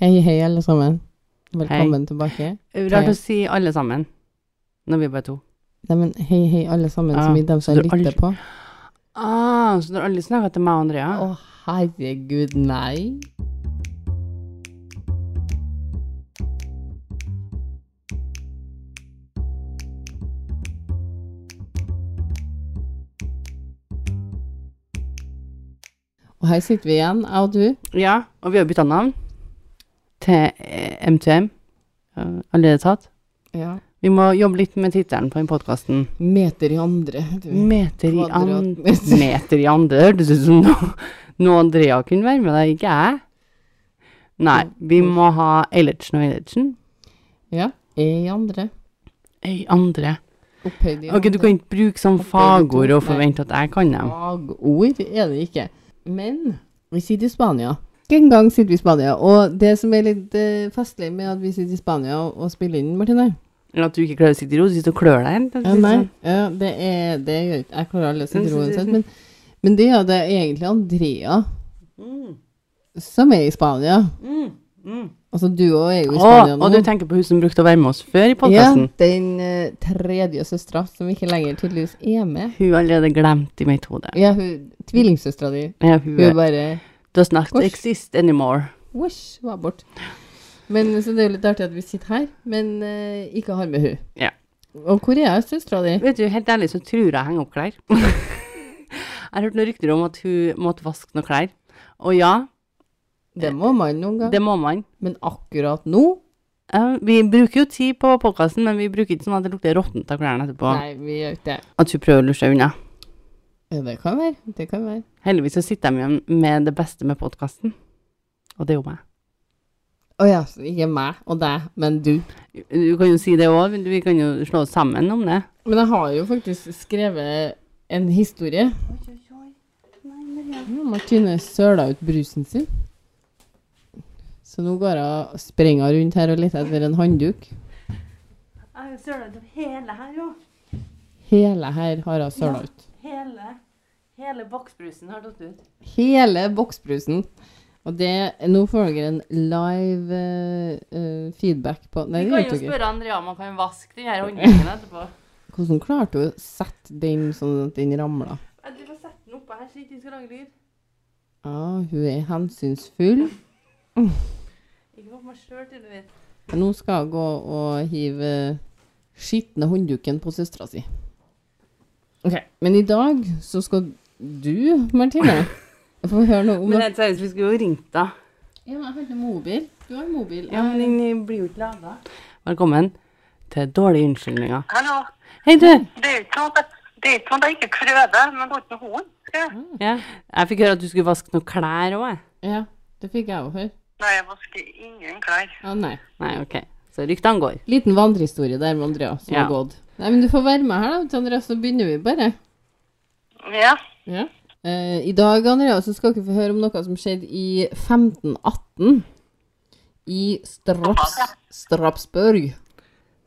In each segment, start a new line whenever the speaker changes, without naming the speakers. Hei, hei, alle sammen. Velkommen tilbake.
Rart å si alle sammen når vi er bare to.
Nei, men hei, hei, alle sammen
Ja,
som i dem
så
som
du
lytter
aldri-
på.
Ah, så når alle snakker til meg og Andrea
Å, herregud, nei. Og her sitter vi igjen, jeg og du.
Ja, og vi har bytta navn til eh, MTM. eh, Allerede tatt. Vi må jobbe litt med tittelen på den podkasten.
Meter i andre. Du.
Mm. Meter i andre
Kvadratmeter.
Meter i andre hørtes ut som noe, noe Andrea kunne være med deg, ikke jeg. Nei, vi må ha Eilertsen og Eilertsen.
Ja, E i andre.
Ei andre.
Opphøyd i
Ok, du kan ikke bruke sånn fagord og forvente at jeg kan dem.
Fagord er det ikke. Men vi sitter i Spania. Ikke engang sitter vi i Spania. Og det som er litt eh, festlig med at vi sitter i Spania og, og spiller inn, Martine
Eller at du ikke klarer å sitte i ro, du sitter og klør deg.
ja,
Det er litt
nei,
sånn-
ja, det, er, det gjør ikke Jeg klarer alle sitter uansett. Men, men det er jo det er egentlig Andrea
Mm.
som er i Spania. Altså, du òg er jo i
Å,
Spania nå.
og du tenker på hun som brukte å være med oss før i
ja,
podkasten?
den eh, tredje søstera som ikke lenger tydeligvis er med.
Hun er allerede glemt i mitt hode.
Ja, hun tvillingsøstera di.
Ja, hun
Hun
er,
bare
does not
Kors.
exist anymore.
Wish var bort. Men så det er jo litt artig at vi sitter her, men eh, ikke har med hun.
Ja.
Og hvor er søstera di?
Vet du, helt ærlig så tror jeg jeg henger opp klær. jeg har hørt noen rykter om at hun måtte vaske noen klær. Og ja,
Det må man noen gang.
Eh, det må man.
Men akkurat nå
Ja, vi bruker jo tid på podkasten, men vi bruker ikke sånn at det lukter råttent av klærne etterpå.
Nei, vi gjør ikke det.
At hun prøver å lure seg unna.
Ja, det kan være. Det kan være.
Heldigvis så sitter de igjen med det beste med podkasten, og det er jo meg.
Å ja, så ikke meg og deg, men du.
Du kan jo si det òg, vi kan jo slå oss sammen om det.
Men jeg har jo faktisk skrevet en historie. Ja, Martine søla ut brusen sin. Så nå går jeg og springer rundt her og leter etter en håndduk.
Jeg søla ut hele her òg.
Hele her har jeg søla ut.
Hele, hele boksbrusen har tatt ut.
Hele boksbrusen. Og det Nå får dere en live eh, eh, feedback på Nei, det gjør dere ikke.
Andrea om han kan vaske den her håndduken etterpå.
Hvordan klarte hun å sette den sånn at den ramla?
Jeg driver og setter den oppå her, så ikke den skal lage lyd.
Ja, hun er hensynsfull.
Ikke på meg sjøl, tydeligvis.
Nå skal hun gå og hive skitne håndduken på søstera si. Ok, Men i dag så skal du, Martine Jeg får høre noe om
Men
det.
helt seriøst, vi skulle jo ringt, da.
Ja, men jeg har ikke mobil. Du har mobil.
Ja, men den blir jo ikke lada. Velkommen til Dårlige unnskyldninger.
Hallo.
Hei, du.
Det er ikke sånn at, det er ikke sånn at jeg ikke prøver, men uten horn. Skal jeg?
Ja. Jeg fikk høre at du skulle vaske noen klær òg, jeg.
ja det fikk jeg òg høre.
Nei, jeg vasker ingen klær.
Ja, nei.
Nei, OK. Så ryktene går.
Liten vandrehistorie der med Andrea som
Ja.
har gått. Nei, men du får være med her, da, til Andrea, så begynner vi bare.
Ja.
Ja. Eh, I dag, Andrea, så skal dere få høre om noe som skjedde i 1518 i Straps, Strapsburg.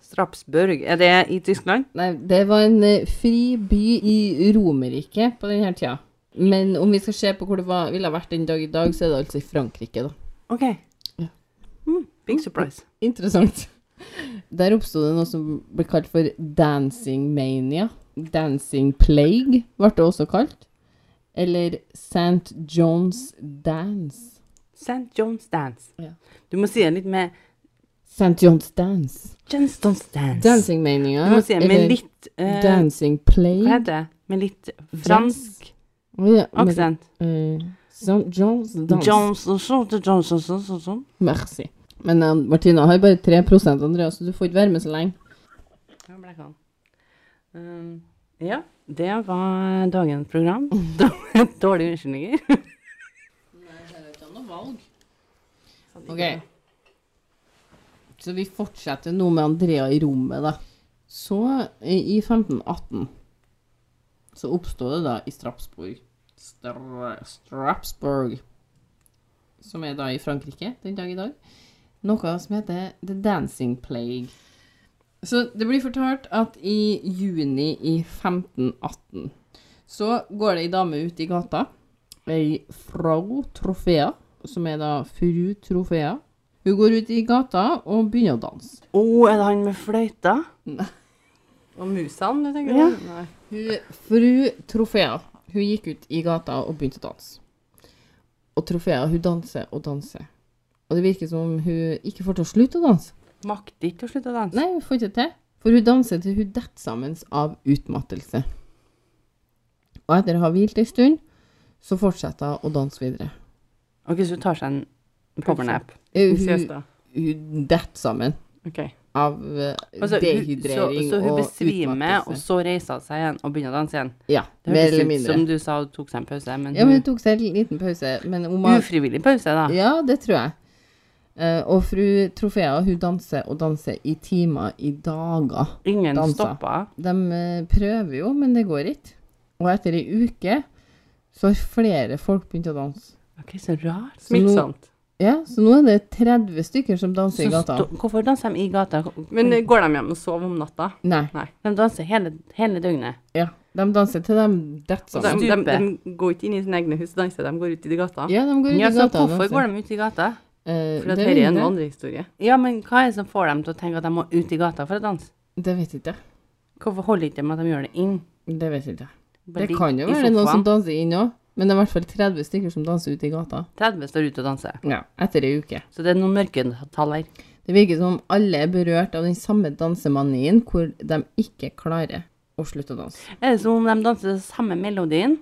Strapsburg, er det i Tyskland?
Nei, det var en eh, fri by i Romerriket på denne tida. Men om vi skal se på hvor det var, ville ha vært den dag i dag, så er det altså i Frankrike, da.
Ok.
Ja.
Mm, big surprise.
Interessant. Der oppsto det noe som ble kalt for dancing mania. Dancing plague ble det også kalt. Eller St. John's dance.
St. John's Dance.
Ja.
Du må si det litt med
St. John's dance.
Johnstone's Dance.
Dancing mania.
Du må si det med
eller
litt eh,
Dancing
Hva
plague.
heter det? Med litt fransk
Ja, men,
aksent.
eh, St. John's dance.
Johnson, Johnson, Johnson, Johnson, Johnson.
Merci. Men eh, Martina har bare 3 Andrea, så du får ikke være med så lenge.
Ja, men det kan. Um, Ja, det var dagens program. Dårlige unnskyldninger.
Ok. Så vi fortsetter nå med Andrea i rommet, da. Så i i 1518 så oppstod det da i Strapsburg Stra Strapsburg, som er da i Frankrike den dag i dag, noe som heter The Dancing Plague. Så det blir fortalt at i juni i 1518 så går det ei dame ut i gata, ei Frau Trofea, som er da fru Trofea, Hun går ut i gata og begynner å danse.
Å, Oh, er det han med fløyta?
Nei.
Og musene, du tenker
Ja.
du? Nei.
Hun, fru Trofea hun gikk ut i gata og begynte å danse. Og Trofea hun danser og danser. Og det virker som om hun ikke får til å slutte å danse.
Makter ikke å slutte å danse.
Nei, hun får ikke til. For hun danser til hun detter sammen av utmattelse. Og etter å ha hvilt ei stund, så fortsetter hun å danse videre.
Ok, så hun tar seg en powernap.
Eh,
En
Hun,
siesta.
hun detter sammen
Ok.
av eh,
Altså, hun, så,
dehydrering
så hun
og
besvimer, og
utmattelse.
så reiser hun seg igjen og begynner å danse igjen.
Ja,
Det
mer eller
høres ut
mindre.
som du sa hun tok seg en pause, men,
Ja, men hun
hun-
tok seg en liten pause. Men om hun
ufrivillig pause, da.
Ja, det tror jeg. Eh, og fru Trofea hun danser og danser i timer, i dager.
Ingen
dansa.
stopper.
De eh, prøver jo, men det går ikke. Og etter ei uke så har flere folk begynt å danse.
Ok, så rart.
Smittsomt.
Ja, Så nå er det 30 stykker som danser
Så
i gata.
sto- hvorfor danser de i gata?
Men eh, går de hjem og sover om natta?
Nei.
De danser hele, hele døgnet.
ja. De danser til de detter
Så
de-
sammen.
de, de,
Stupe.
de går ikke inn i sine egne hus og danser, de går ut i gata.
Ja, de går ut
Ja,
i
så
gata. altså. Eh,
hvorfor går de ut i gata?
For at dette er en vandrehistorie.
Ja, men hva er det som får dem til å tenke at de må ut i gata for å danse?
Det vet ikke jeg.
Hvorfor holder ikke de med at de gjør det inn?
Det vet ikke jeg.
Bare
Det
ligge
kan jo
i
være noen som
sofaen.
danser inn òg, men det er i hvert fall 30 stykker som danser ute i gata.
30 står ute og danser.
Ja, Etter ei uke.
Så det er noen mørketall her.
Det virker som om alle er berørt av den samme dansemanien hvor de ikke klarer å slutte å danse.
Er det som om de danser samme melodien?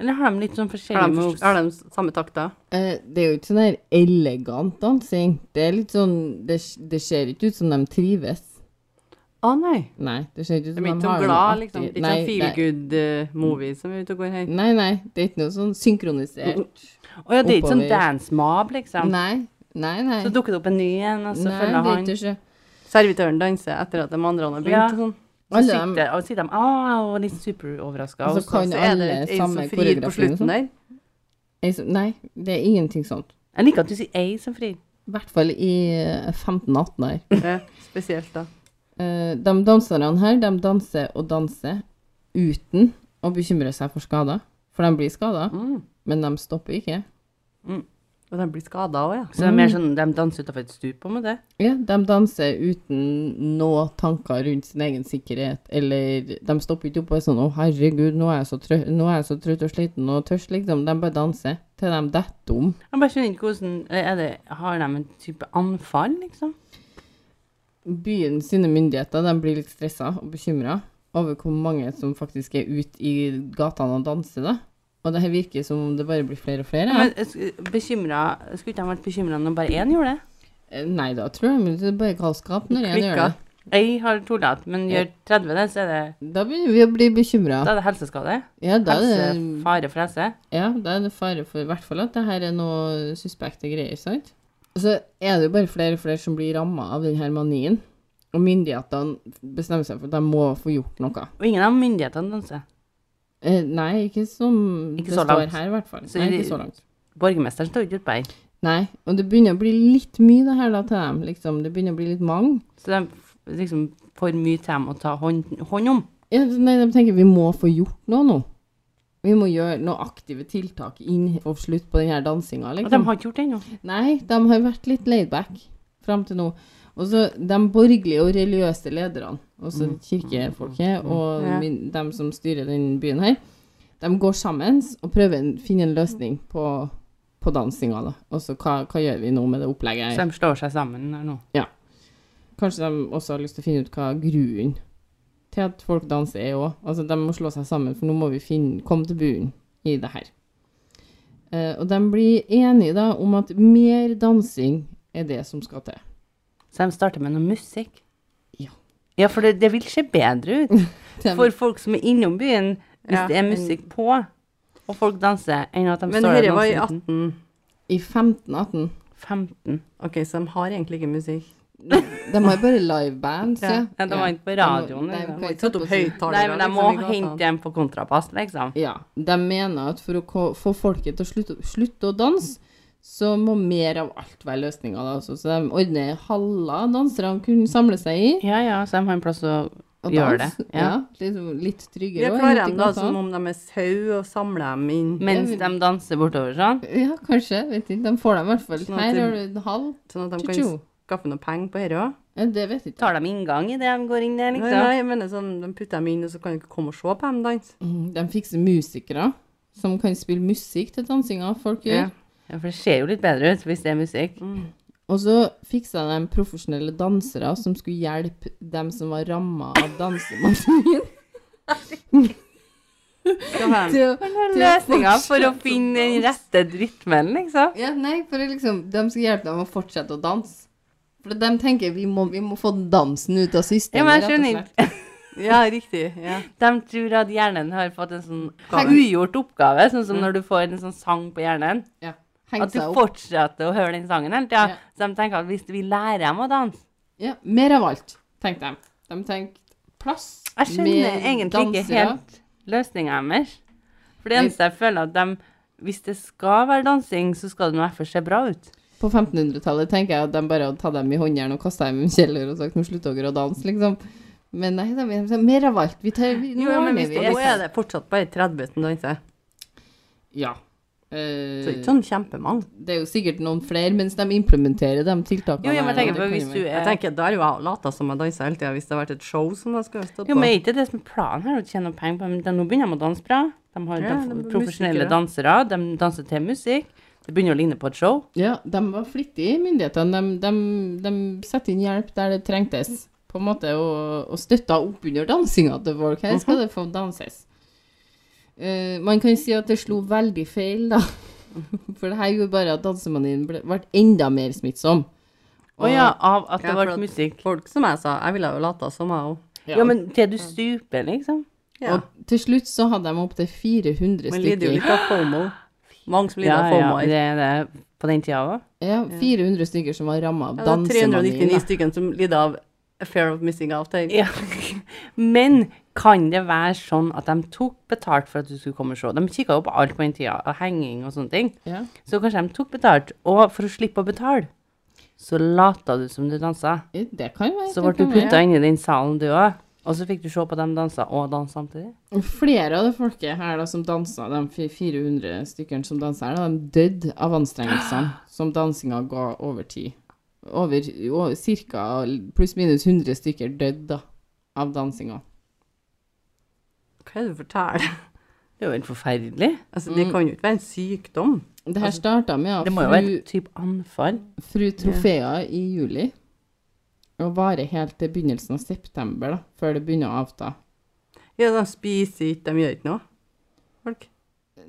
Eller har de litt sånn forskjellige
Har de,
moves?
har de samme takter?
Eh, det er jo ikke sånn her elegant dansing. Det er litt sånn Det, det ser ikke ut som de trives.
Å nei.
Nei, det ser ikke ut
De
som
er
de,
ikke
har
sånn
noe
glad,
artig.
liksom. Det er ikke
Nei,
sånn feel
det-
good-movie som er ute og går her.
Nei, nei. Det er ikke noe sånn synkronisert.
Å ja, det er ikke sånn
oppover.
dance mob, liksom.
Nei, nei, nei.
Så dukker det opp en ny en, og så
Nei,
følger
det er
han.
ikke så-
Servitøren danser etter at de andre har begynt.
Ja.
og Sånn.
Så
Alle
sitter,
dem-
og sitter de «Au», og litt superoverraska.
Altså,
Og så
kan-
Så er det
alle
ei som
samme
frir
koreografi
på
og
slutten der.
sånn? jeg så- Nei, det er ingenting sånn. sånt.
Jeg liker at du sier ei som frir.
I hvert fall i eh, 15-18 år.
Ja, spesielt, da.
Eh, de danserne her, de danser og danser uten å bekymre seg for skader. For de blir skada,
Mm.
men de stopper ikke.
Og de blir skada òg, ja.
Så det er mer sånn de danser utafor et stup, på en måte.
Ja, de danser uten noe tanker rundt sin egen sikkerhet, eller de stopper ikke opp og er sånn 'Å, herregud, nå er jeg så trøtt, nå er jeg så trøtt og sliten og tørst', liksom. De bare danser til de detter om.
Jeg bare skjønner ikke hvordan er det, Har de en type anfall, liksom?
Byen sine myndigheter de blir litt stressa og bekymra over hvor mange som faktisk er ute i gatene og danser, da. Og det her virker som om det bare blir flere og flere.
Men jeg sk- bekymret- Skulle ikke de vært bekymra når bare én gjorde det?
Eh, Nei da, tror jeg. Men det er bare galskap når en gjør det.
Klikka.
Jeg har tullete, men gjør 30 det, så er det,
Da begynner vi å bli bekymra.
da er det helseskade.
Ja, da er det,
Helsefare for helse.
ja, da er det fare for i hvert fall at det her er noe suspekte greier, sant? Og så er det jo bare flere og flere som blir ramma av denne manien. Og myndighetene bestemmer seg for at de må få gjort noe.
Og ingen av myndighetene danser.
Eh, nei, ikke som
Ikke
det
så
står
langt.
her, i hvert fall.
Så
Nei,
de-
ikke så langt.
Borgermesteren står ikke utpå her.
Nei, og det begynner å bli litt mye, det her da, til dem. liksom. Det begynner å bli litt mange.
Så de f- liksom får mye til dem å ta hånd, hånd om.
Ja, nei, de tenker vi må få gjort noe nå. Vi må gjøre noen aktive tiltak inn og slutt på den her dansinga.
Og de
Liksom.
har ikke gjort det ennå.
Nei, de har vært litt laid back fram til nå. Og så de borgerlige og religiøse lederne, også kirkefolket og
Ja.
min, dem som styrer den byen her, de går sammen og prøver å finne en løsning på, på dansinga. da. Og så hva, hva gjør vi nå med det opplegget her?
Så de slår seg sammen her nå.
Kanskje de også har lyst til å finne ut hva grunnen til at folk danser er òg. Altså, de må slå seg sammen, for nå må vi finne, komme til bunnen i det her. Eh, og de blir enige da om at mer dansing er det som skal til.
Så de starter med noe musikk.
Ja.
Ja, for det, det vil se bedre ut
De,
for folk som er innom byen, hvis
Ja,
det er
men-
musikk på, og folk danser, enn at de
Men
står
dette var i
danser
18...
uten.
I 1518
15.
OK, så de har egentlig ikke musikk.
De har bare livebands,
Ja,
ja.
ja, de var ikke på
De må-
radioen,
de
eller?
kan
De har
ikke
ikke satt opp
sette på-
høyttalere.
Nei, men de må
liksom, i gata.
hente dem på kontrapass, liksom.
Ja. De mener at for å ko- få folket til å slutte, slutte å danse, så må mer av alt være løsninga. da, altså. Så de ordner haller danserne kunne samle seg i.
Ja, ja, så de har en plass å
Og
Gjør
dans.
det,
Ja.
ja.
liksom litt tryggere.
Ja,
og sånn.
klarer
helt i
sånn de da
gata.
som om de er sau, og samler dem inn
Mens de danser bortover sånn.
Ja, kanskje. Vet ikke. De får dem i hvert fall.
Sånn at
Her
det-
har du en halv.
Sånn at de kan
Tjo-tjo.
skaffe noe penger på dette òg.
Ja, Det vet jeg ikke.
Tar de inngang i det de går inn der,
Nei,
liksom?
nei, jeg mener sånn, de putter dem inn, og så kan du ikke komme og se på dem danse.
Mm, De fikser musikere som kan spille musikk til dansinga folk gjør.
Ja.
Ja, for det ser jo litt bedre ut hvis det er musikk.
Mm,
Og så fiksa de profesjonelle dansere som skulle hjelpe dem som var ramma av dansemanien.
Da har de
til å- til å
Løsninga for å
fortsette
finne den rette rytmen, liksom.
Ja, nei, for det liksom, de skal hjelpe dem å fortsette å danse. For de tenker vi må, vi må få dansen ut av systemet.
Ja, men jeg
rett og
skjønner
slett.
Ja, riktig. Ja.
De tror at hjernen har fått en sånn
Oppgave.
ugjort oppgave, sånn som når du får en sånn sang på hjernen.
Ja. Heng
At du
seg opp.
fortsetter å høre den sangen hele tida.
Ja.
Så de tenker at hvis vi lærer dem å danse
Ja, mer av alt, tenkte de. De tenkte plass,
Jeg skjønner egentlig ikke helt løsninga deres. For det
Nei.
eneste jeg føler at de Hvis det skal være dansing, så skal det nå i hvert fall se bra ut.
På 1500-tallet tenker jeg at de bare hadde tatt dem i håndjern og kasta dem i en kjeller og sagt nå slutter dere å danse, liksom. Men nei, de de sa mer av alt. Vi tar, vi, nå
Jo, men
ordner
hvis
vi
det, nå er det fortsatt bare 30 som danser.
Ja.
Så det
Eh,
er ikke sånn kjempemange.
det er jo sikkert noen flere, mens de implementerer de tiltakene.
Jo, jo,
her,
men jeg tenker
og det
på
kan
hvis
jo
du
være-
Jeg
er
tenker, Da har jo jeg lata som jeg danser hele tida, hvis det har vært et show som jeg skulle stått
Jo,
på.
men er ikke det som er planen her, å tjene noe penger på men de- Nå begynner de å danse bra. De har
Ja,
dans-
de er
profesjonelle
musikere.
dansere. De danser til musikk. Det begynner å ligne på et show.
Ja, de var flittige, myndighetene. De, de, de setter inn hjelp der det trengtes, på en måte, og, og støtta opp under dansinga til folk. Her skal det få danses. Eh, man kan si at det slo veldig feil, da. For det her gjorde bare at dansemanien ble, ble enda mer smittsom.
Å ja, av at
Ja,
det
for
ble
at-
musikk.
Folk som jeg sa, jeg ville jo lata som jeg òg.
Ja, men til du stuper, liksom.
Ja.
Og til slutt så hadde de opptil 400
Men
stykker.
lider jo litt av fomo. Mange som lider
Ja,
av
ja,
fomo. her.
det er det på den tida òg.
Ja, 400 stykker som var ramma av
Ja, det er
dansemanien.
399
da.
stykker som lider av a fear of missing out. her.
Ja. Men kan det være sånn at de tok betalt for at du skulle komme og se? De kikka jo på alt på den tida, og henging og sånne ting.
Ja.
Så kanskje de tok betalt, og for å slippe å betale, så lata du som du dansa.
Det kan være.
Så
det
ble du
kan være.
putta inn i den salen, du òg. Og så fikk du se på dem danse og danse samtidig.
Og Flere av det folket her da, som dansa, de fi- 400 stykkene som dansa her, da, de døde av anstrengelsene som dansinga ga over tid. Over o- cirka pluss-minus 100 stykker døde da, av dansinga.
Hva er det du forteller?
Det er jo helt forferdelig.
Altså,
Mm.
Det kan jo ikke være en sykdom.
Det her starta med at
Altså, Det må jo være
fru,
et type anfall.
fru Trofea i juli, og varer helt til begynnelsen av september, da, før det begynner å avta.
Ja, De spiser ikke, de gjør ikke noe.
Mm,
Folk.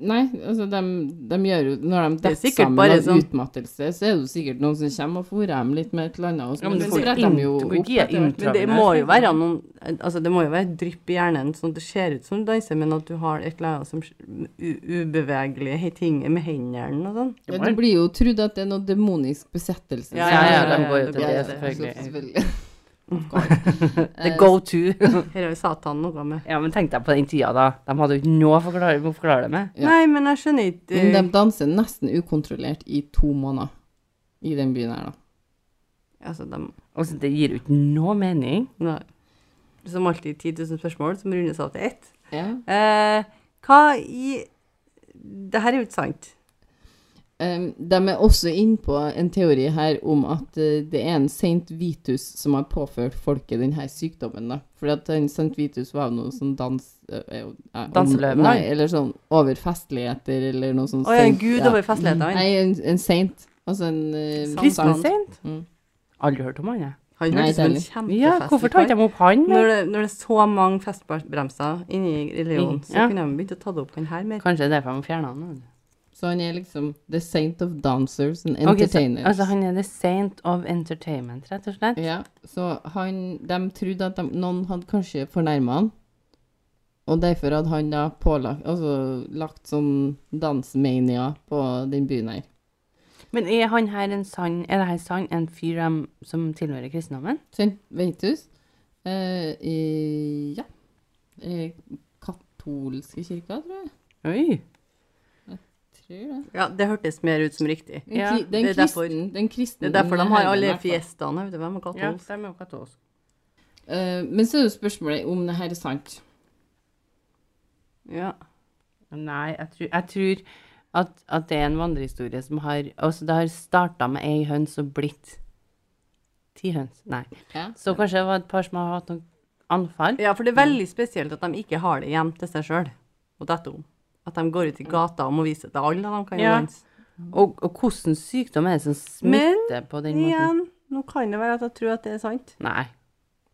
Nei, altså de, de gjør jo Når de
Det er
detter
sikkert
sammen
bare
av
sånn-
utmattelse, så er det jo sikkert noen som kommer og fôrer dem litt med et eller annet, og så
Ja, men
men
du
så
får jo
retter de
int-
jo
du kan
opp
ikke gi
etter hvert.
Men det
Travler.
må jo være noen Altså, det må jo være drypp i hjernen, sånn at det ser ut som du danser, men at du har et eller annet som u- ubevegelige ting med hendene og sånn.
Ja, Det blir jo trodd at det er noe demonisk besettelse.
Ja,
Ja, ja,
ja,
de
ja,
går jo
det
til
blir
det,
det.
selvfølgelig.
Of course.
The go to.
Her har jo Satan noe med.
Ja, men tenk deg på den tida, da. De hadde jo ikke noe å forklare, å forklare det med.
Ja.
Nei, men jeg skjønner ikke
Men de
eh,
danser nesten ukontrollert i to måneder i den byen her, da.
Altså, de
Altså, det gir jo ikke noe mening.
Nei. Som alltid 10 000 spørsmål som rundes av til ett.
Ja.
Eh, hva i Det her er jo ikke sant.
Em, de er også innpå en teori her om at eh, det er en St. Vitus som har påført folket denne sykdommen. Da. For at han St. Vitus var jo noe sånn dans... eh, eh, om-
Danseløve, da?
Nei, eller sånn over festligheter, eller noe sånt.
Å ja, en
saint,
gud over festlighetene.
Nei, en, en saint. Altså en eh,
Kristen
saint.
Sent?
Mm.
Aldri hørt om han, jeg.
Sånn Han
Nei,
hørtes som en
deilig.
kjempefestlig
Ja, hvorfor tar de ikke opp han?
Når det, når det er så mange festbremser inni religionen, så
Ja.
kunne de begynt å ta det opp den her mer.
Kanskje det er derfor de fjerna han. vet du.
Så han er liksom the saint of dancers and
Ok, så-
entertainers.
altså, han er the saint of entertainment, rett og slett.
Ja, så han, de trodde at de, noen hadde kanskje fornærmet han, og derfor hadde han da pålagt, altså lagt sånn dansmania på den byen her.
Men er han her en sann Er det her sann en fyr em, som tilhører kristendommen?
St. Vitus, Sånn, eh, i, ja, i katolske kirka, tror jeg.
Oi.
Tror det.
Ja, det hørtes mer ut som riktig.
Den,
Ja,
kri- den
det er
kristen,
derfor.
den kristen.
Det er derfor de
helgen
har
i
alle
hvert fall.
fiestaene, vet du, hvem er katolsk?
er jo katolsk.
Eh, men så er jo spørsmålet om det her er sant.
Ja.
Nei, jeg tror, jeg tror at, at det er en vandrehistorie som har Altså, det har starta med ei høns og blitt ti høns. Nei.
Ja.
Så kanskje det var et par som har hatt noen anfall.
ja, for det er veldig spesielt at de ikke har det hjem til seg sjøl og detter om. At de går ut i gata og må vise det til alle. De kan jo
Ja.
danse.
Og, og hvordan sykdom er det som smitter på den måten?
Igjen, nå kan det være at jeg tror at det er sant.
Nei.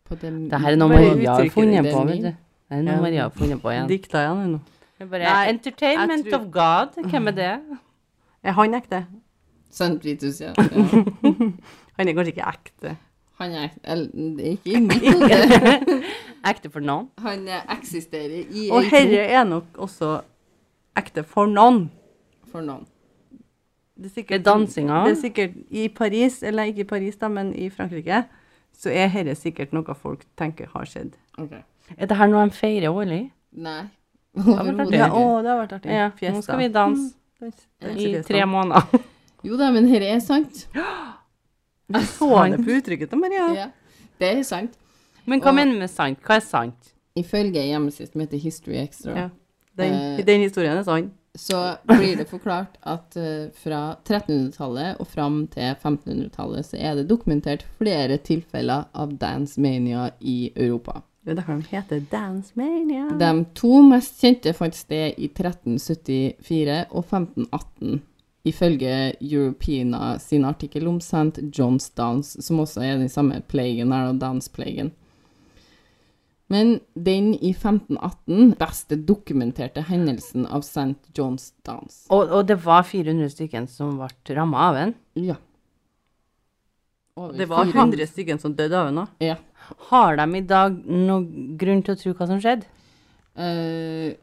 På det,
Det her er noe
Bare
Maria har
uttrykker
funnet
det.
på, vet du. Det er noe
Ja.
Maria har funnet på igjen.
Dikta igjen hun nå.
Det er bare
Nei,
Entertainment
jeg tror-
of God, hvem er det?
Er han ekte?
Sant, Vitus, ja. ja.
Han er kanskje ikke ekte.
Han er eller, det er ikke inni hodet.
Ekte for noen.
Han eh, eksisterer i
Og
ei
herre er nok også ekte for noen.
tro for noen.
Det er
Det er
sikkert,
dansinga.
det er sikkert i Paris, eller ikke i Paris da, men i Frankrike, så er herre sikkert noe folk tenker har skjedd.
Ok.
Er det her noe de feirer årlig?
Nei.
vært
Overhodet
artig.
Ja,
ikke.
å, det har vært artig.
Ja,
Fiesta.
nå skal vi danse
Dans-
i
dansefjesta.
tre måneder.
Jo da, men dette er sant.
Jeg så det på uttrykket til Maria.
Ja. Det er sant.
Men hva mener du med sant? Hva er sant?
Ifølge ei hjemmeside som heter History Extra,
Ja. Den,
Eh.
den historien er sann.
så blir det forklart at eh, fra 1300-tallet og fram til 1500-tallet så er det dokumentert flere tilfeller av dance mania i Europa.
Det er derfor den heter Dance Mania.
De to mest kjente fant sted i 1374 og 1518, ifølge Europeana sin artikkel om St. John's Dance, som også er den samme plagen her, da, dansplagen. Men den i 1518 beste dokumenterte hendelsen av St. John's Dance.
Og, og det var 400 stykken som ble ramma av den.
Ja. Over
Det var
400.
100 stykker som døde av henne.
Ja.
Har de i dag noen grunn til å tro hva som skjedde?
Eh,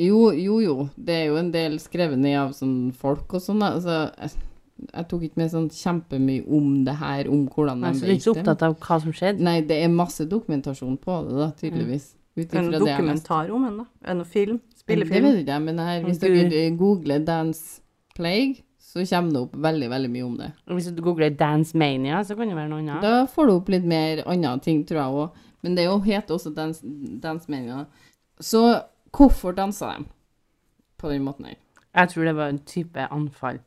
jo, jo, jo. Det er jo en del skrevet ned av sånn folk og sånn. da. Altså, jeg, jeg tok ikke med sånn kjempemye om det her, om hvordan
Nei,
de
så Altså, du er ikke så opptatt av Mm. hva som skjedde?
Nei, det er masse dokumentasjon på det, da, tydeligvis. Ut
En
ifra det jeg leste.
dokumentar om henne. En film.
Det
Spillefilm.
vet ikke jeg, men her, hvis
Gud.
dere eh, googler 'Dance Plague', så kommer det opp veldig, veldig mye om det.
Hvis du googler 'Dance Mania', så kan det være noe annet.
Da får du opp litt mer andre ting, tror jeg òg. Men det er jo heter også dans, dansmeninga. Så hvorfor danser de på den måten her?
Jeg tror det var en type anfall.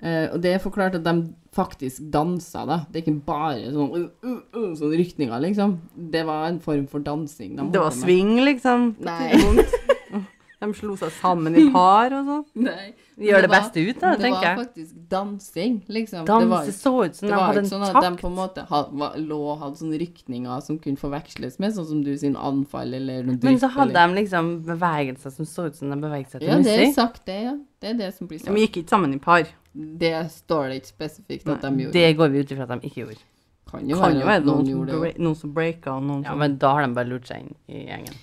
Eh, og det er forklart at de faktisk dansa, da. Det er ikke bare sånn, uh, uh, uh, sånn rykninger, liksom. Det var en form for dansing. de
Det var
holdt på med.
swing, liksom. på
Nei.
tidspunkt. De slo seg sammen i par og sånn.
Nei.
Gjør det beste ut, da,
Det
tenker
var
jeg.
faktisk dansing, liksom. det var,
Danse så ut som
det
de
var ikke
hadde en
sånn at de
takt.
på en måte ha- var, lå og hadde sånne rykninger som kunne forveksles med, sånn som du sin anfall eller noe
Men så
drypp,
hadde
eller-
de liksom bevegelser som så ut som de beveget seg til
Ja, det er
musikk.
sagt, det, ja. Det er det som blir
De
sagt.
gikk ikke sammen i par.
Det står det ikke spesifikt at de gjorde.
Det går vi ut ifra at de ikke gjorde.
kan jo
Kan
være
jo være
at noen
noen, som
gjorde det.
bre- noen som breaka, og noen
Ja,
som
Men da har de bare lurt seg inn i gjengen.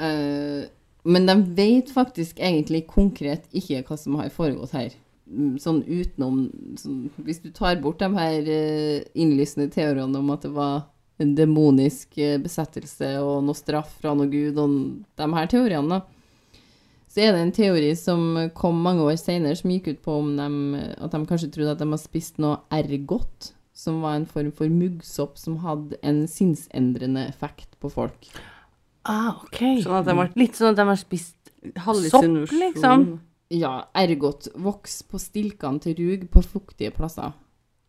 Eh, men de vet faktisk egentlig konkret ikke hva som har foregått her. Mm, Sånn utenom sånn, Hvis du tar bort de her eh, innlysende teoriene om at det var en demonisk eh, besettelse og noe straff fra noe gud og n- de her teoriene, da, så er det en teori som kom mange år senere, som gikk ut på om dem, eh, at de kanskje trodde at de hadde spist noe ergot, som var en form for muggsopp som hadde en sinnsendrende effekt på folk.
Ah, ok.
Sånn at de har-
Litt sånn at de har spist
Hallusinasjon.
Sopp, liksom.
Ja, ergot voks på stilkene til rug på fuktige plasser.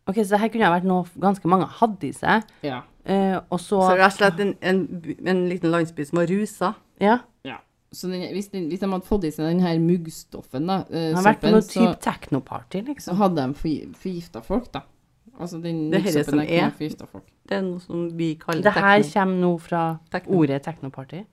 Ok, så her kunne ha vært noe ganske mange hadde i seg.
Ja.
eh, og så,
Så rett og slett en, en, by- en liten landsby som var rusa.
ja,
Så den, hvis, den, hvis de hadde fått i seg den her muggstoffen, da, eh,
det har vært
soppen,
noe
så,
type technoparty,
så
liksom.
hadde de forgi- forgifta folk, da. Altså den
Det er dette som
muggsoppen der
er.
kunne forgifta folk.
Det er noe som vi kaller
Det her
tekno.
kommer nå fra
Techno.
ordet technoparty.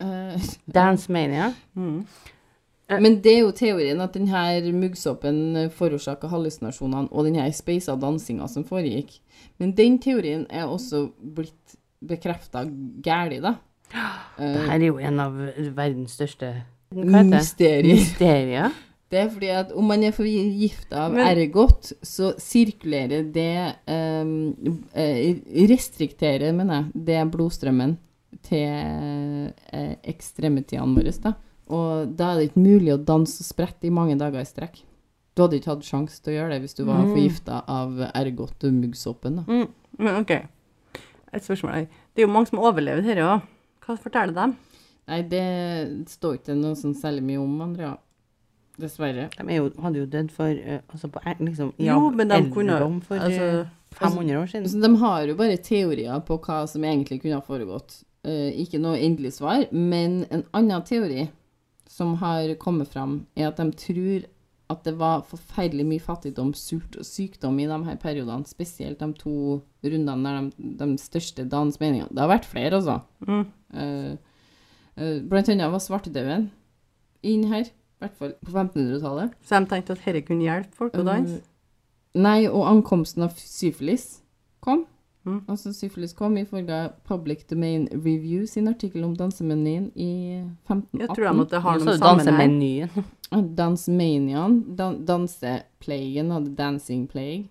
Eh,
Dance Mania.
Mm.
men det er jo teorien at den her muggsoppen forårsaka hallusinasjonene og den her speisa dansinga som foregikk. Men den teorien er også blitt bekrefta gæli, da.
Det
Eh,
her er jo en av verdens største Hva heter det?
mysterier.
Mysterier.
Det er fordi at om man er forgifta av
Men-
ergot, så sirkulerer det ehm, eh, Restrikterer, mener jeg, det blodstrømmen til eh, ekstremitidene våre. Da. Og da er det ikke mulig å danse og sprette i mange dager i strekk. Du hadde ikke hatt sjanse til å gjøre det hvis du var
Mm.
forgifta av ergot og muggsoppen. Da.
Men OK. Mm. et spørsmål her. Det er jo mange som har overlevd dette òg. Hva forteller dem?
Nei, det står ikke noe sånn særlig mye om, Andrea. Dessverre.
De er jo, hadde jo dødd for eh, altså på, er- liksom, i
Jo, men de kunne
alderdom for eh,
altså,
500 år siden.
Så de har jo bare teorier på hva som egentlig kunne ha foregått. Eh, ikke noe endelig svar, men en annen teori som har kommet fram, er at de tror at det var forferdelig mye fattigdom, sult og sykdom i de her periodene. Spesielt de to rundene der de, de største dagens meninger. Det har vært flere, altså.
Mm.
Eh, eh, blant annet var svartedauden inn her. I hvert fall på 1500-tallet.
Så de tenkte at dette kunne hjelpe folk
Um,
å danse?
Eh, Nei, og ankomsten av syfilis kom.
Mm.
Altså syfilis kom ifølge Public Domain Review sin artikkel om dansemenyen i 1518.
Jeg tror de at det har
Så
noen sammenheng.
dansemenyen.
Dansmaniaen, dan danseplagen, hadde dancing plague,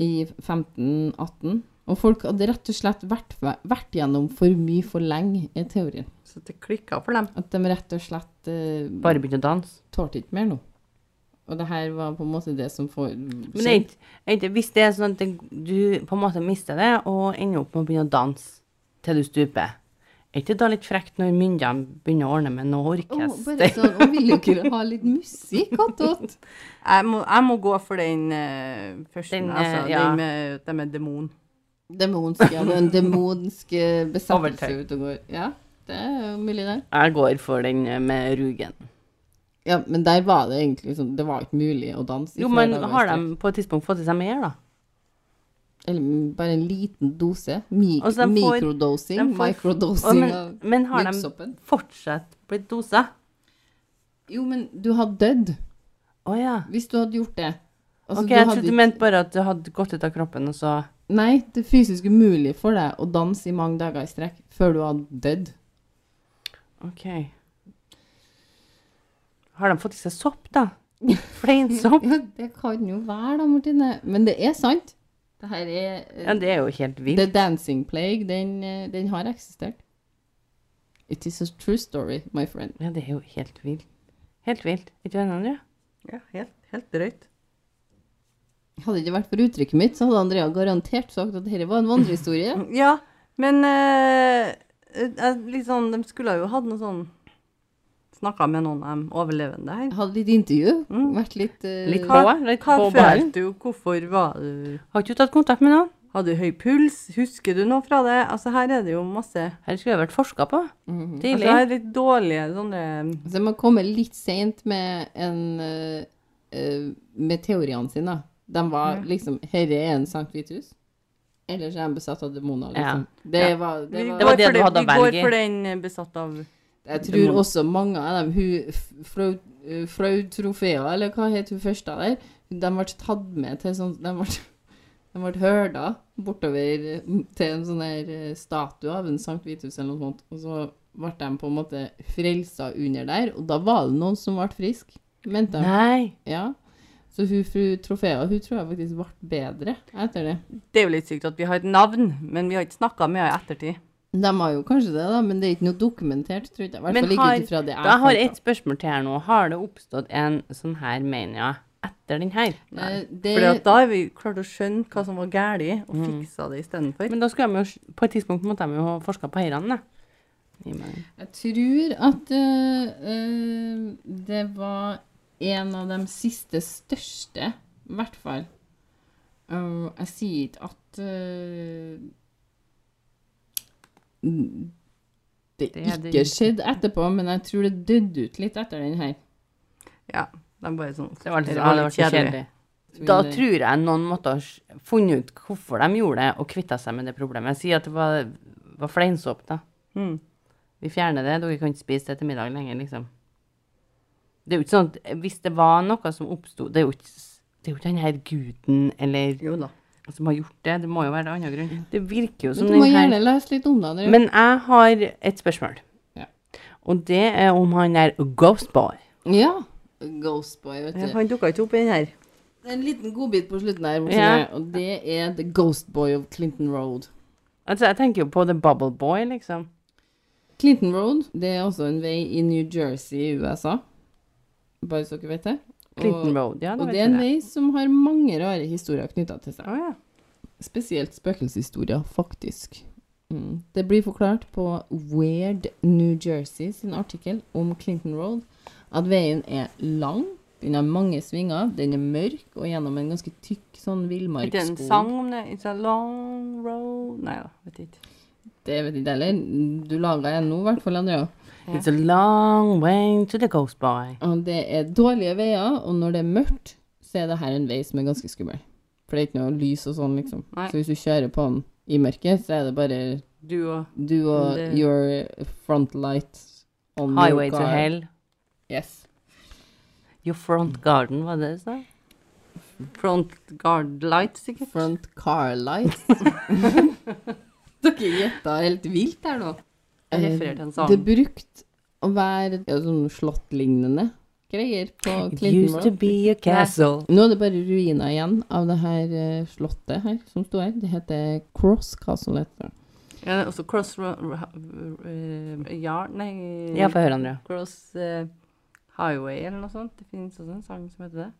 i 1518. Og folk hadde rett og slett vært, vært gjennom for mye for lenge, er teorien.
Så det klikka for dem.
At de rett og slett eh,
Bare begynte å danse.
tålte ikke mer nå. Og det her var på en måte det som får
Men det er ikke, er ikke, hvis det er sånn at det- du på en måte mister det, og ender opp med å begynne å danse til du stuper, er ikke det da litt frekt når myndighetene begynner å ordne med noe
Åh,
orkester?
bare sånn, og vil dere ha litt musikk attåt?
Jeg må, jeg må gå for den eh, første,
Den, eh,
altså.
ja.
Den med, den med demon.
Demonsk, ja. Det er en demonsk eh, besettelse
Overtøy.
ute og går. Ja, det er jo mulig, det.
Jeg går for den eh, med rugen.
Ja, men der var det egentlig sånn Det var ikke mulig å danse. i
Jo,
flere
men
dager
har
i
de på et tidspunkt fått i seg mer, da?
strekk. Eller mm, bare en liten dose. Mi
Altså, de får-
microdosing.
de får- Å,
microdosing
men, men har
av
de
livsoppen.
fortsatt blitt dosa?
Jo, men du hadde dødd
Å ja.
hvis du hadde gjort det. Altså,
Ok,
du
jeg
hadde
trodde du
ikke-
mente bare at det hadde gått ut av kroppen, og så
Nei, det er fysisk umulig for deg å danse i mange dager i strekk før du hadde dødd.
OK. Har de fått i seg sopp, da? Fleinsopp?
Ja, det kan jo være da, Martine. Men det er sant. Det her er eh,
Ja, det er jo helt vilt.
The Dancing Plague, den, eh, den har eksistert. It is a true story, my friend.
Ja, det er jo helt vilt. Helt vilt. Er du enig, Andrea?
Ja, helt, helt drøyt.
Hadde det ikke vært for uttrykket mitt, så hadde Andrea garantert sagt at dette var en vandrehistorie.
Mm.
Ja, men eh, eh, litt sånn, de skulle jo hatt noe sånn Snakka med noen av de overlevende her.
Hadde litt intervju.
Mm.
Vært litt eh,
Litt
Hva,
På, litt
hva
på ballen.
følte du? Hvorfor var du
Har ikke du tatt kontakt med noen?
Hadde du høy puls? Husker du noe fra det? Altså, her er det jo masse
Her skulle jeg vært forska på.
Mhm.
Altså,
Tidlig.
her er litt dårlige sånne
Så man kommer litt sent med, en, eh, eh, med teoriene sine. De var liksom Herre er en Sankt Vitus. Ellers er de besatt av demoner, liksom. Det, var, det,
Vi
var,
går
var det
for
du hadde å
Vi går
velge i.
for den eh, besatt av
Jeg
Det
tror
må-
også mange av dem hun, F- Fraud, eh, Fraud Trofea, eller hva het hun første der, de ble tatt med til sånn De ble, de ble hørda bortover eh, til en sånn der eh, statue av en Sankt Vitus eller noe sånt. Og så ble de på en måte frelsa under der, og da var det noen som ble friske, mente de.
Nei.
Ja. Så hun fru Trofea, hun tror jeg faktisk ble bedre etter det.
Det er jo litt sykt at vi har et navn, men vi har ikke snakka med henne i ettertid.
De har jo kanskje det, da, men det er ikke noe dokumentert, tror jeg. I hvert
Men
fall ikke
har-
ut ifra det jeg
Da har
fant
jeg
fram.
et spørsmål til her nå. Har det oppstått en sånn her mania etter den her?
Eh, det-
For da har vi klart å skjønne hva som var galt,
Mm.
og fiksa det istedenfor.
Men da skulle de jo s- På et tidspunkt måtte de jo ha forska på herrene, da. I meg.
Jeg tror at eh, eh, det var en av de siste største, i hvert fall. Eh, jeg sier ikke at eh, n- det,
Det er det
ikke
ikke.
skjedde etterpå, men jeg tror det døde ut litt etter den her.
Ja, de bare sånn
Det var litt,
Det
det
var
var
litt
litt kjedelig.
kjedelig.
Da tror jeg noen måtte ha s- funnet ut hvorfor de gjorde det, og kvitta seg med det problemet. Si at det var, var fleinsopp, da.
mm.
Vi fjerner det, dere kan ikke spise det til middag lenger, liksom. Det er jo ikke sånn at hvis det var noe som oppsto Det er jo ikke, det er jo ikke den her guden eller
Jo da.
som har gjort det. Det må jo være det andre grunn. Det virker jo som
Men du må
den her
gjerne lese litt om det. Andrea.
Men jeg har et spørsmål.
Ja.
Og det er om han der Ghost Boy.
ja. Ghostboy, vet du.
Han dukka ikke opp i den her.
Det er en liten godbit på slutten her,
Ja.
Martine, og det er The Ghostboy of Clinton Road.
Altså, jeg tenker jo på The Bubble Boy, liksom.
Clinton Road, det er også en vei i New Jersey i USA. Bare så dere vet det. Og,
Clinton Road, ja.
og
vet
det er en
jeg
vei som har mange rare historier knytta til seg.
Å, ja.
spesielt spøkelseshistorier, faktisk. Mm. Det blir forklart på Weird New Jersey sin artikkel om Clinton Road at veien er lang, den har mange svinger, den er mørk og gjennom en ganske tykk sånn
Er det en
villmarksskog.
sang om det? It's a long road Nei da, vet ikke.
Det vet ikke heller. Du laga en nå, i hvert fall, Andrea.
It's a long way to the ghost boy.
Og det er dårlige veier, og når det er mørkt, så er det her en vei som er ganske skummel. For det er ikke noe lys og sånn, liksom.
Nei.
Så hvis du kjører på den i mørket, så er det bare
Du og
du og
Det-
your front light on
Highway
your
to
car.
hell.
Yes.
Your front garden, var det det du sa?
Front Guard Light, sikkert.
Front car light. Dere gjetta helt vilt her nå. Eh,
Jeg
eh,
refererer til en sang.
Det brukte å være ja, sånn slåttlignende greier på
It
Clinton
used to
Road.
be a castle.
Nå er det bare ruiner igjen av det her eh, slottet her som sto her. Det heter Cross Castle. Heter det.
Ja, det er også Cross Ro- Ro- eh, Yard Nei.
Ja, få høre, Andrea.
Cross eh, Highway eller noe sånt. Det finnes også en sang som heter det.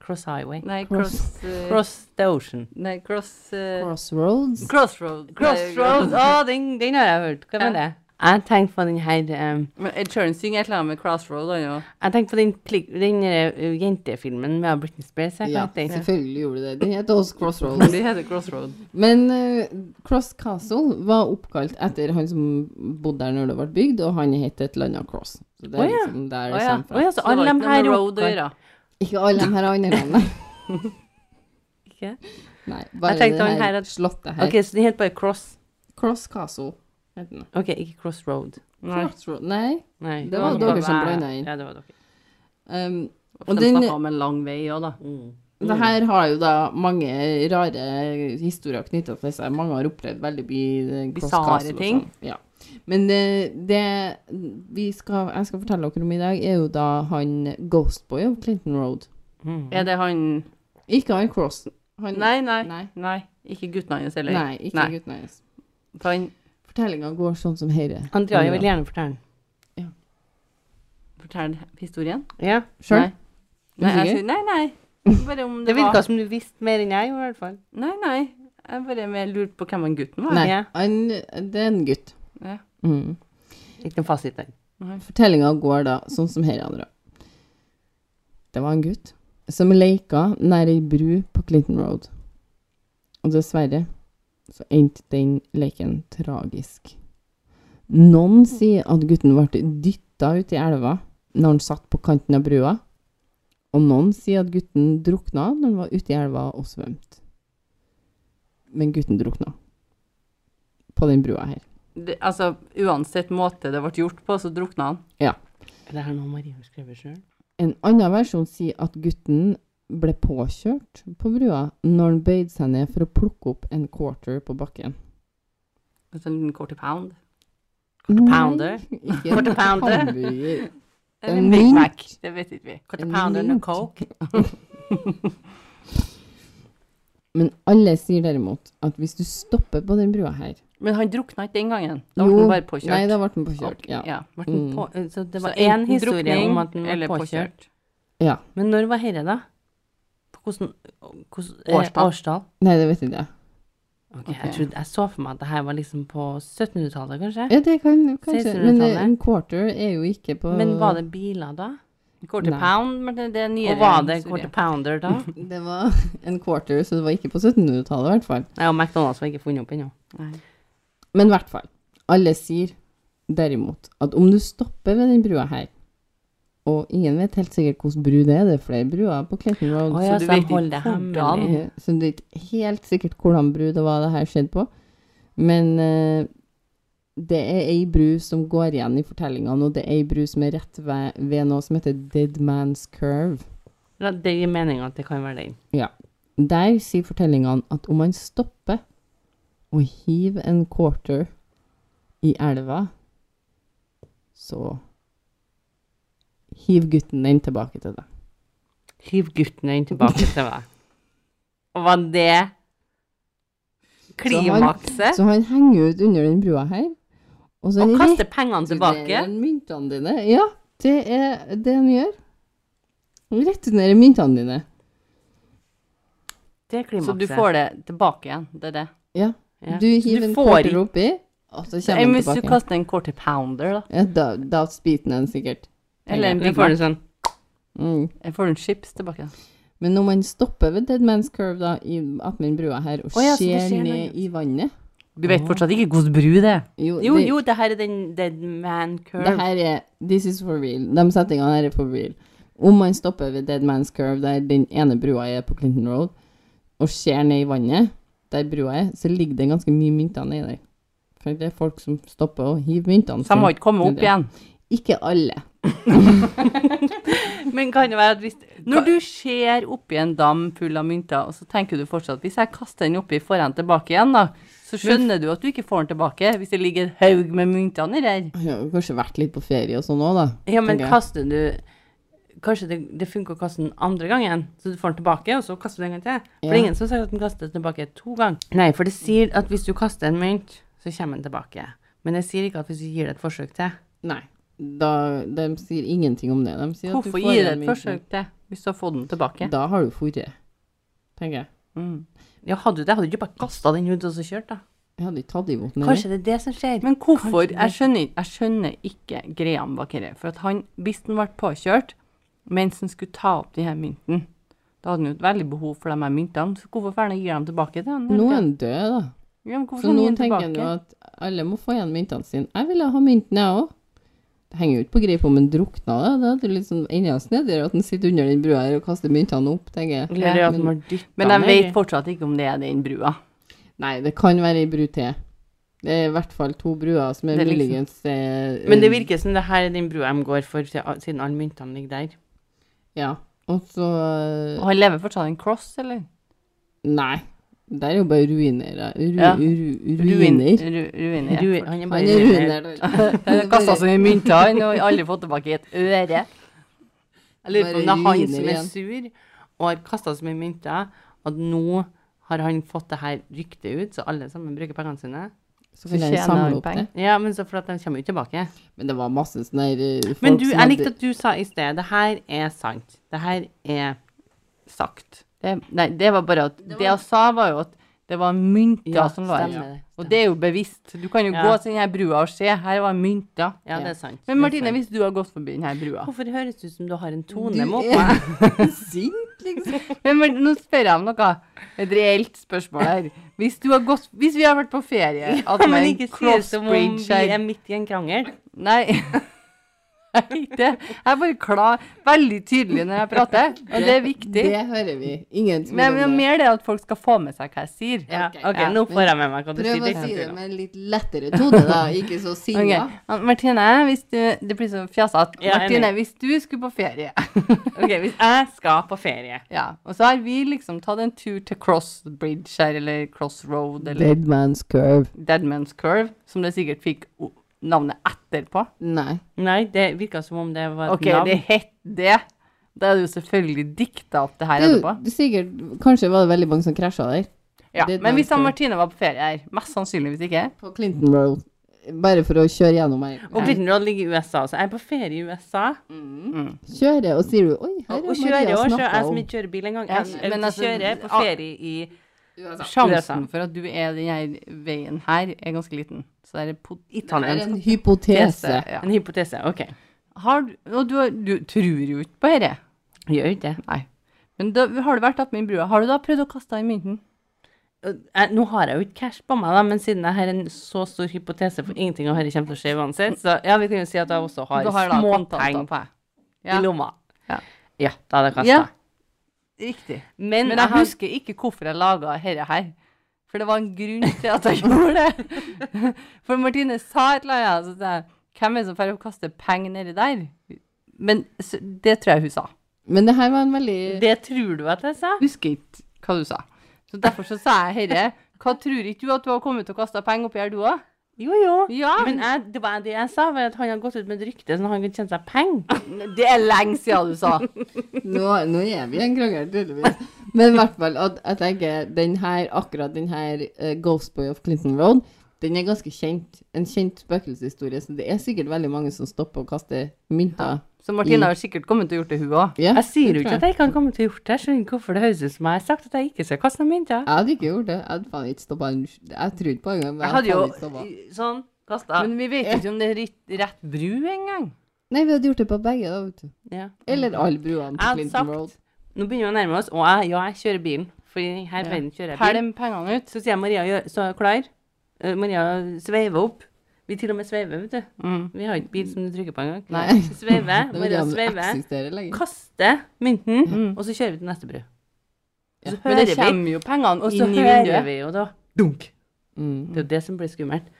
Cross highway.
Nei,
Cross-
Cross eh,
Cross the ocean.
Nei, Cross eh,
Crossroads.
Crossroad.
Crossroads!
Nei,
Å, Ah, den, den har jeg hørt. Hva var det? Jeg tenkte på den her um,
Men Ed Sheeran synger et eller annet med Crossroad. Han, jo.
Jeg tenkte på den, plik, den eh, jentefilmen med Britney Spears. Jeg,
Ja,
ja, den.
selvfølgelig gjorde det. Den heter også Crossroads.
Men det heter Crossroad.
Men eh, Cross Castle var oppkalt etter han som bodde der når det ble bygd, og han het et eller annet Cross. Så det er
Å ja.
liksom der
Å
det
ja.
kommer
Å
fra.
ja, så Altså, alle de her
road å
oppgår-
gjøre.
Ikke alle de her andre landene.
Ikke?
Nei, bare
tenkte
det her
han her at-
slottet her.
Ok, så den heter bare Cross.
Cross Castle heter den.
Ok, ikke Crossroad.
Nei.
Crossroad. Nei.
Nei.
Det var
Det var
dere som
bare-
blanda inn.
Ja, det var dere.
Um,
Og
Og
den
den-
snakka om en lang vei òg, da.
Mm.
Mm.
Det her har jo da mange rare historier knytta til seg. Mange har opplevd veldig mye eh,
Bisarre ting.
sånn. Ja. Men eh, det vi skal, jeg skal fortelle dere om i dag, er jo da han Ghostboy av Clinton Road.
Mm.
Er det han
Ikke han Cross. Han,
Nei, nei.
Nei.
Nei, ikke gutten hans heller.
Nei, ikke
Nei.
gutten hennes.
For han
Fortellinga går sånn som herre.
Andrea, jeg vil gjerne fortelle den.
forteller historien.
Ja.
Sjøl?
Nei. Nei, jeg,
Usikker?
sier- nei, nei. Bare om det,
Det virka
var
som du visste mer enn jeg, i hvert fall.
Nei, nei. Jeg bare mer lurte på hvem han gutten var.
Nei.
Ja.
Han, det er en gutt.
Ja.
Mm.
Ikke noen fasit der.
Fortellinga går da sånn som her, Andrea. Det var en gutt som leika nær ei bru på Clinton Road. Og dessverre så endte den leken tragisk. Noen sier at gutten ble dytta ut i elva når han satt på kanten av brua. Og noen sier at gutten drukna når han var ute i elva og svømte. Men gutten drukna. På den brua her.
Det, altså, uansett måte det ble gjort på, så drukna han.
Er det her noe Marie har skrevet sjøl?
En annen versjon sier at gutten ble påkjørt på brua når han bøyde seg ned for å plukke opp en quarter på bakken.
En sånn quarter pound.
pounder?
Nei, ikke
Quarter
en
pounder?
hamburger.
Eller
En
Big
mynt.
Mac. Det vet ikke vi.
Quarter
En
pounder and a
mint.
coke?
Men alle sier derimot at hvis du stopper på den brua her
Men han drukna ikke den gangen. Da ble
Jo,
han bare påkjørt.
Nei, da ble han påkjørt.
Ok,
Ja.
ja.
Ble den
Mm.
På, så det var
Så
én
enten
historie
drukning
om at den var
eller
påkjørt. Men når var herre, da? På hvordan, hvordan eh,
Årstall.
årstall?
Nei, det vet jeg ikke.
Ok,
Ok.
Jeg, trodde, jeg så for meg at det her var liksom på 1700-tallet, kanskje.
Ja, det kan kanskje Men eh,
1600-tallet.
en quarter er jo ikke på
Men var det biler da?
Quarter
Nei.
pound, men det, det er nyere.
Og var det quarter
historie.
pounder da?
Det var en quarter, så det var ikke på 1700-tallet i hvert fall.
Nei, og McDonald's var ikke funnet opp ennå.
Nei.
Men i hvert fall, alle sier derimot at om du stopper ved den brua her, og ingen vet helt sikkert hvilken bru det er, det er flere bruer på Clayton Road,
Å ja, så
du
de
vet ikke
holder det
hvordan.
hemmelig.
Eh, så det er ikke helt sikkert hvordan bru det var det her skjedde på, men eh, det er ei bru som går igjen i fortellingene, og det er ei bru som er rett ved, ved noe som heter Dead Man's Curve.
Ja, Det gir mening at det kan være den.
Der sier fortellingene at om man stopper og hiver en quarter i elva, så hiv gutten den tilbake til deg.
Hiv gutten din tilbake til meg. Og var det klimakset?
Så han henger ut under den brua her. Og så
Og kaste
rekker
pengene
du
tilbake?
ned myntene dine. Ja, det er det han gjør. Han returnerer myntene dine.
Det er klimakset.
Så du får det tilbake igjen. Det er det.
Ja.
Ja.
Du
Så
hiver
du
en
får
quarter
ikke-
oppi, og så
Nei,
kommer
men
den
hvis du
tilbake.
kaster en quarter pounder, da.
Ja, da, da spiter den sikkert.
Eller en
Du
Big
får det
Mac.
sånn.
Mm.
Jeg får du en chips tilbake?
Men når man stopper ved Dead Man's Curve da, i attmed brua her, og
Å ja, så det
ser
skjer noe.
ned i vannet
Du vet fortsatt ikke hvordan bru det er.
Jo,
det-
jo, det her er den Dead Man
Det
Curve.
her er This is for real. De settingene her er for real. Om man stopper ved Dead Man's Curve, der den ene brua er på Clinton Road, og ser ned i vannet, der brua er, så ligger det ganske mye mynter nedi der. For det er folk som stopper og hiver myntene.
Så jeg må
sine.
ikke komme opp
Det er
igjen.
Ikke alle.
Men kan det være at hvis
Når du ser oppi en dam full av mynter, og så tenker du fortsatt hvis jeg kaster den oppi, får jeg den tilbake igjen, da? Så skjønner du at du ikke får den tilbake hvis det ligger en haug med mynter nedi der.
Jeg har jo kanskje vært litt på ferie og sånn òg, da.
Ja, men
tenker jeg.
kaster du Kanskje det, det funker å kaste den andre gangen, så du får den tilbake, og så kaster du den en gang til. For det
Ja.
er ingen som sier at den kaster tilbake to ganger. Nei, for det sier at hvis du kaster en mynt, så kommer den tilbake. Men det sier ikke at hvis du gir det et forsøk til
Nei. Da, de sier ingenting om det. De sier at du
Hvorfor
får
gir du
en
et
mynt.
forsøk til hvis du har fått den tilbake?
Da har du fôret, tenker jeg.
Mm. Ja, hadde du det, hadde du ikke bare kasta den ut og så kjørt, da?
Jeg hadde ikke tatt imot den. eller?
Kanskje det er det som skjer?
Men
Kanskje
hvorfor?
det-
Jeg skjønner, ikke- jeg skjønner ikke Graham bak her. For at han, hvis han ble påkjørt mens han skulle ta opp de her mynten, da hadde han jo et veldig behov for de her myntene. Så hvorfor får han ikke gi dem tilbake til han? hele
Nå er
tiden?
han død, da.
Ja, men hvorfor
Så
skal han gi
nå
dem
tenker han jo
tilbake?
at alle må få igjen myntene sine. Jeg ville ha mynten, jeg òg. Det henger jo ikke på greip om en drukna, da. Det er jo litt sånn enda snedigere at en sitter under den brua her og kaster myntene opp, tenker jeg.
Eller at
men-
den var dyttet
Men jeg
ned i-
vet fortsatt ikke om det er den brua.
Nei, det kan være ei bru til. Det er i hvert fall to bruer som er
Det er liksom-
muligens eh,
Men det virker som det her er den brua de går for, siden alle myntene ligger der.
Ja. Og så eh,
Og han lever fortsatt en cross, eller?
Nei. Der er jo bare ruiner. da. Ru,
Ja.
ru, ruiner.
Ru, ruiner.
Ru, han er
Han
bare
er
ruiner.
ruiner.
Kasta seg i mynter, han har aldri fått tilbake et øre.
Jeg lurer på om det
Bare
er han
ruiner
som er
igjen.
sur og har kasta så mye mynter at nå har han fått det her ryktet ut, så alle sammen bruker pengene sine.
Så kan
Så
jeg
tjener han
samle opp
penger.
det.
Ja, men så for at de kommer jo tilbake.
Men det var masse sånne eh, folk
Men du,
som
jeg likte
hadde-
at du sa i sted det her er sant. Det her er sagt.
Det, nei, det var bare at Det, jeg sa, var jo at det var mynter
Ja,
som lå
stemmer
her.
det,
Og det er jo bevisst. Du kan jo
Ja.
gå til denne brua og se. Her var mynter.
Ja.
Ja, det er sant. Det
Men
er
Martine,
sant.
hvis du har gått forbi denne brua
Hvorfor høres det ut som du har en tone mot
Du
meg?
er sint, liksom.
Men Mar- nå spør jeg om noe. Et reelt spørsmål her. Hvis, du har gått, hvis vi har vært på ferie at
Men
med en
ikke si det som om
crossbridge
vi
her-
er midt i en krangel.
Nei. Jeg er ikke- jeg er bare klar, veldig tydelig når jeg prater, og det er viktig.
Det hører vi. Ingen tvil
Men det er
om det.
mer det at folk skal få med seg hva jeg sier.
Ja,
Ok.
OK,
Ja.
nå får jeg med meg hva du sier.
Prøv å
Det er
si
sant,
det
da.
med en litt lettere tone, da. Ikke så sinna.
Ok, Ann- Martine, hvis du, det blir så fjasete.
Ja, jeg er
Martine,
enig.
hvis du skulle på ferie
OK, hvis jeg skal på ferie
Ja, og så har vi liksom tatt en tur til Cross Bridge her, eller Cross Road, eller
Dead man's curve.
Deadman's Curve, som det sikkert fikk o- navnet etterpå.
Nei.
Nei, det virka som om det var et
Ok,
navn.
det het det. Da er det jo selvfølgelig dikta opp det her
Det er
etterpå.
jo sikkert Kanskje var det veldig mange som krasja der.
Ja,
Dead
men
Man's
hvis han
Curve.
Martine var på ferie her, mest sannsynligvis ikke.
På Clinton Road. Bare for å kjøre gjennom her.
Og Clinton Road ligger i USA, så jeg er på ferie i USA. Mm.
Mm.
Kjører, og sier du Oi, her
Og
har
kjører
Maria
også, så
snakka
jeg som
om
ikke kjører bil engang.
Ja,
Jeg, jeg,
men altså,
kjører på
ah.
ferie i
Sjansen for at du er den her veien her, er ganske liten. Så det er pot-
Det er en
italiensk
hypotese.
Ja.
En hypotese, OK.
Har du, og du, har- du tror jo ikke på dette.
Gjør ikke det.
Nei. Men da, har du vært attmed brua, har du da prøvd å kaste i mynten?
Og Jeg, nå har jeg jo ikke cash på meg, da, men siden jeg har en så stor hypotese for ingenting av dette kommer til å skje uansett, så ja, vi kan jo si at jeg også har,
Du har da kontanter
småpenger
på deg.
i
Ja.
lomma.
Ja.
ja, da hadde jeg kasta.
Ja. Riktig.
Men,
Men
jeg
jeg
har-
husker ikke hvorfor jeg laga dette her. For det var en grunn til at jeg gjorde det. For Martine sa et eller annet, så sa jeg Hvem er det som får kaste penger nedi der? Men s- det tror jeg hun sa.
Men det her var en veldig
Det tror du at jeg sa?
Husker ikke hva du sa. Så derfor så sa jeg herre, hva tror ikke du at du har kommet til å kaste penger oppi her, du òg?
Jo, jo.
Ja.
Men jeg, det var det jeg sa, var at han hadde gått ut med et rykte sånn at han kunne tjene seg penger.
Det er lenge siden du sa.
Nå, nå er vi i en krangel, tydeligvis. Men i hvert fall at jeg tenker den her, akkurat den her eh, Ghost Boy of Clinton Road Den er ganske kjent. En kjent spøkelseshistorie. Så det er sikkert veldig mange som stopper og kaster mynter.
Så Martine har sikkert kommet til å gjort det, hun òg.
Ja,
Jeg sier
det
jo
tror
ikke at jeg ikke hadde kommet til å gjort det. Jeg skjønner ikke hvorfor det høres ut som jeg har sagt at jeg ikke skal kaste noen mynter.
Jeg hadde ikke gjort det. Jeg hadde faen ikke stoppa en Jeg trodde på en gang, men
Jeg
jeg hadde
hadde
faen ikke stoppa.
jo sånn kasta.
Men vi vet jo ikke om det er rett, rett bru engang.
Nei, vi hadde gjort det på begge, da, vet du.
Ja.
Eller alle bruene
Jeg
på
hadde
Clinton
sagt
Road.
Nå begynner vi å nærme oss, og jeg, ja, jeg kjører bilen. For i her verden kjører jeg
Pæl
bil.
de pengene ut.
Så sier jeg Maria, gjør- så er jeg klar. Eh, Maria sveiver opp. Vi til og med sveiver, vet du.
Mm.
Vi har ikke bil som du trykker på engang.
Nei.
Så Sveiver.
Det var
Maria
det han
sveiver.
eksisterer lenger.
Kaster mynten,
Mm.
og så kjører vi til neste bru. Og så
Men
hører
det
vi,
kommer jo pengene
og så
inn i
hører
vinduet.
vi jo da
Mm.
Det er jo det som blir skummelt.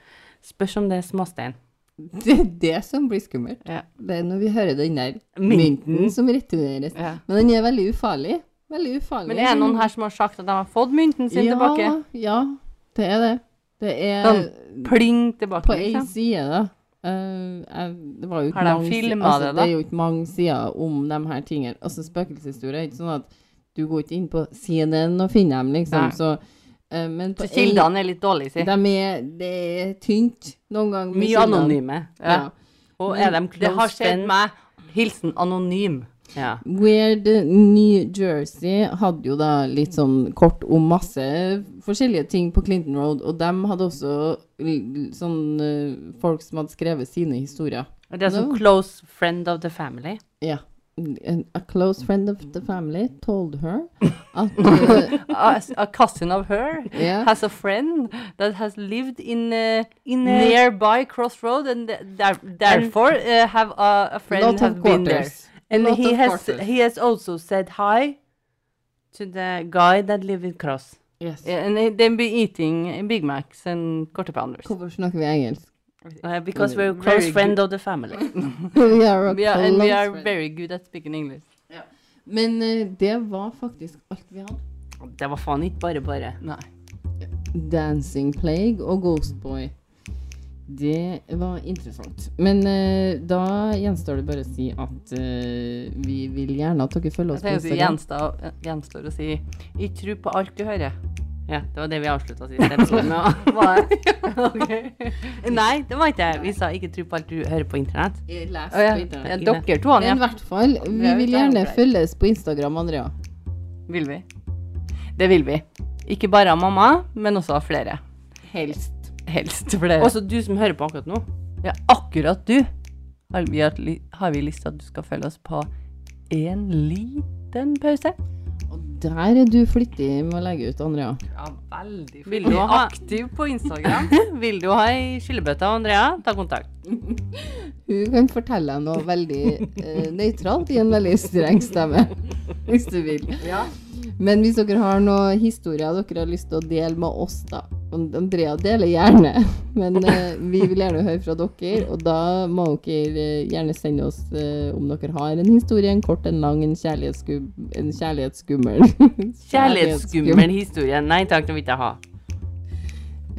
Spørs om det er småstein.
Det er det som blir skummelt.
Ja.
Det er når vi hører den der
Mynten.
mynten som returneres.
Ja.
Men den er veldig ufarlig. Veldig ufarlig.
Men er det noen her som har sagt at de har fått mynten sin
ja,
tilbake?
Ja, det er det. Det er
Sånn pling
på
tilbake.
ei
Liksom.
side, da. Eh, jeg, det var jo ikke
Har de
mange si-
filmet
altså,
det, da?
Det er jo ikke mange sider om de her tingene. Altså, spøkelseshistorie er ikke sånn at du går ikke inn på CNN og finner dem,
Nei.
liksom. Så, eh, men på
Så
ei-
kildene er litt dårlige, si.
de er, det er tynt noen ganger. med
Mye
kildene.
anonyme.
Ja.
Ja.
Og er de
Det har
close
skjedd
friends?
meg. Hilsen anonym.
Ja.
Weird New Jersey hadde jo da litt sånn kort om masse forskjellige ting på Clinton Road, og de hadde også l- sånn eh, folk som hadde skrevet sine historier.
Og det er sånn
No.
close friend of the family.
Ja. An- A close friend of the family told her at eh,
A, a cousin of her
Yeah.
has a friend that has lived in a
In a-
nearby crossroad and there, therefore uh, have a, a friend
Lot
has
of
been there.
quarters.
And
Lot
he
of
has,
quarters.
he has also said hi to the guy that live in Cross.
Yes.
Yeah, and they've been eating Big Macs and quarter pounders.
Hvorfor snakker vi engelsk?
Uh, because
Mm.
we're close
Very
friend of the family.
we are a
We are, and we
close
are
friend.
very good at speaking English.
Men eh, det var faktisk alt vi hadde.
Det var faen ikke bare bare.
Nei.
Dancing Plague og Ghost Boy. Det var interessant. Men eh, da gjenstår det bare å si at eh, vi vil gjerne at dere følger oss
Jeg
på
tenker det
Instagram.
gjenstår, gjenstår å si ikke tro på alt du hører.
Ja, det var det vi avslutta siste episode med.
Var det? Ok.
Nei, det var ikke det. Vi sa ikke tro på alt du hører på internett.
Eh, Les
Å ja.
på
ja,
internett.
dere to,
Men i
ja.
hvert fall,
Vi
vi
er jo
vil
ikke
gjerne
her.
følges på Instagram, Andrea.
Vil vi? Det vil vi. Ikke bare av mamma, men også av flere.
Helst.
Helst flere.
Også du som hører på akkurat nå.
Ja, akkurat du har vi, hatt ly- har vi lyst til at du skal følge oss på en liten pause.
Og der er du flittig med å legge ut, Andrea.
Ja, veldig
Vil du ha-
aktiv på Instagram.
Vil du ha ei skyllebøtte av Andrea, ta kontakt.
Hun kan fortelle deg noe veldig eh, nøytralt i en veldig streng stemme, hvis du vil. Men hvis dere har noen historier dere har lyst til å dele med oss, da og Andrea deler gjerne, men eh, vi vil gjerne høre fra dere. Og da må dere eh, gjerne sende oss eh, om dere har en historie, en kort, en lang, en, kjærlighetsskub en kjærlighetsskummel Kjærlighetsskum-
Kjærlighetsskummel historie. Nei takk, det vil ikke jeg ha.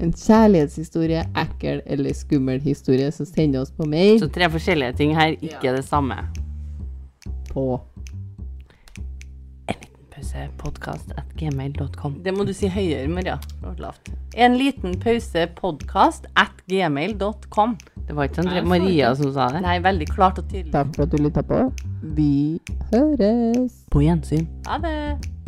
En kjærlighetshistorie, ekkel eller skummel historie, så send oss på mail
Så tre forskjellige ting her, ikke det samme.
på
Pausepodkast.gmail.com.
Det må du si høyere, Maria. for det var lavt. En liten pause podcast at gmail.com.
Det var ikke Andrea
Jeg så
Maria som sa det.
Nei, veldig
Tá
klart og tydelig.
Takk for at du lytta på. Vi høres!
På gjensyn.
Ha det.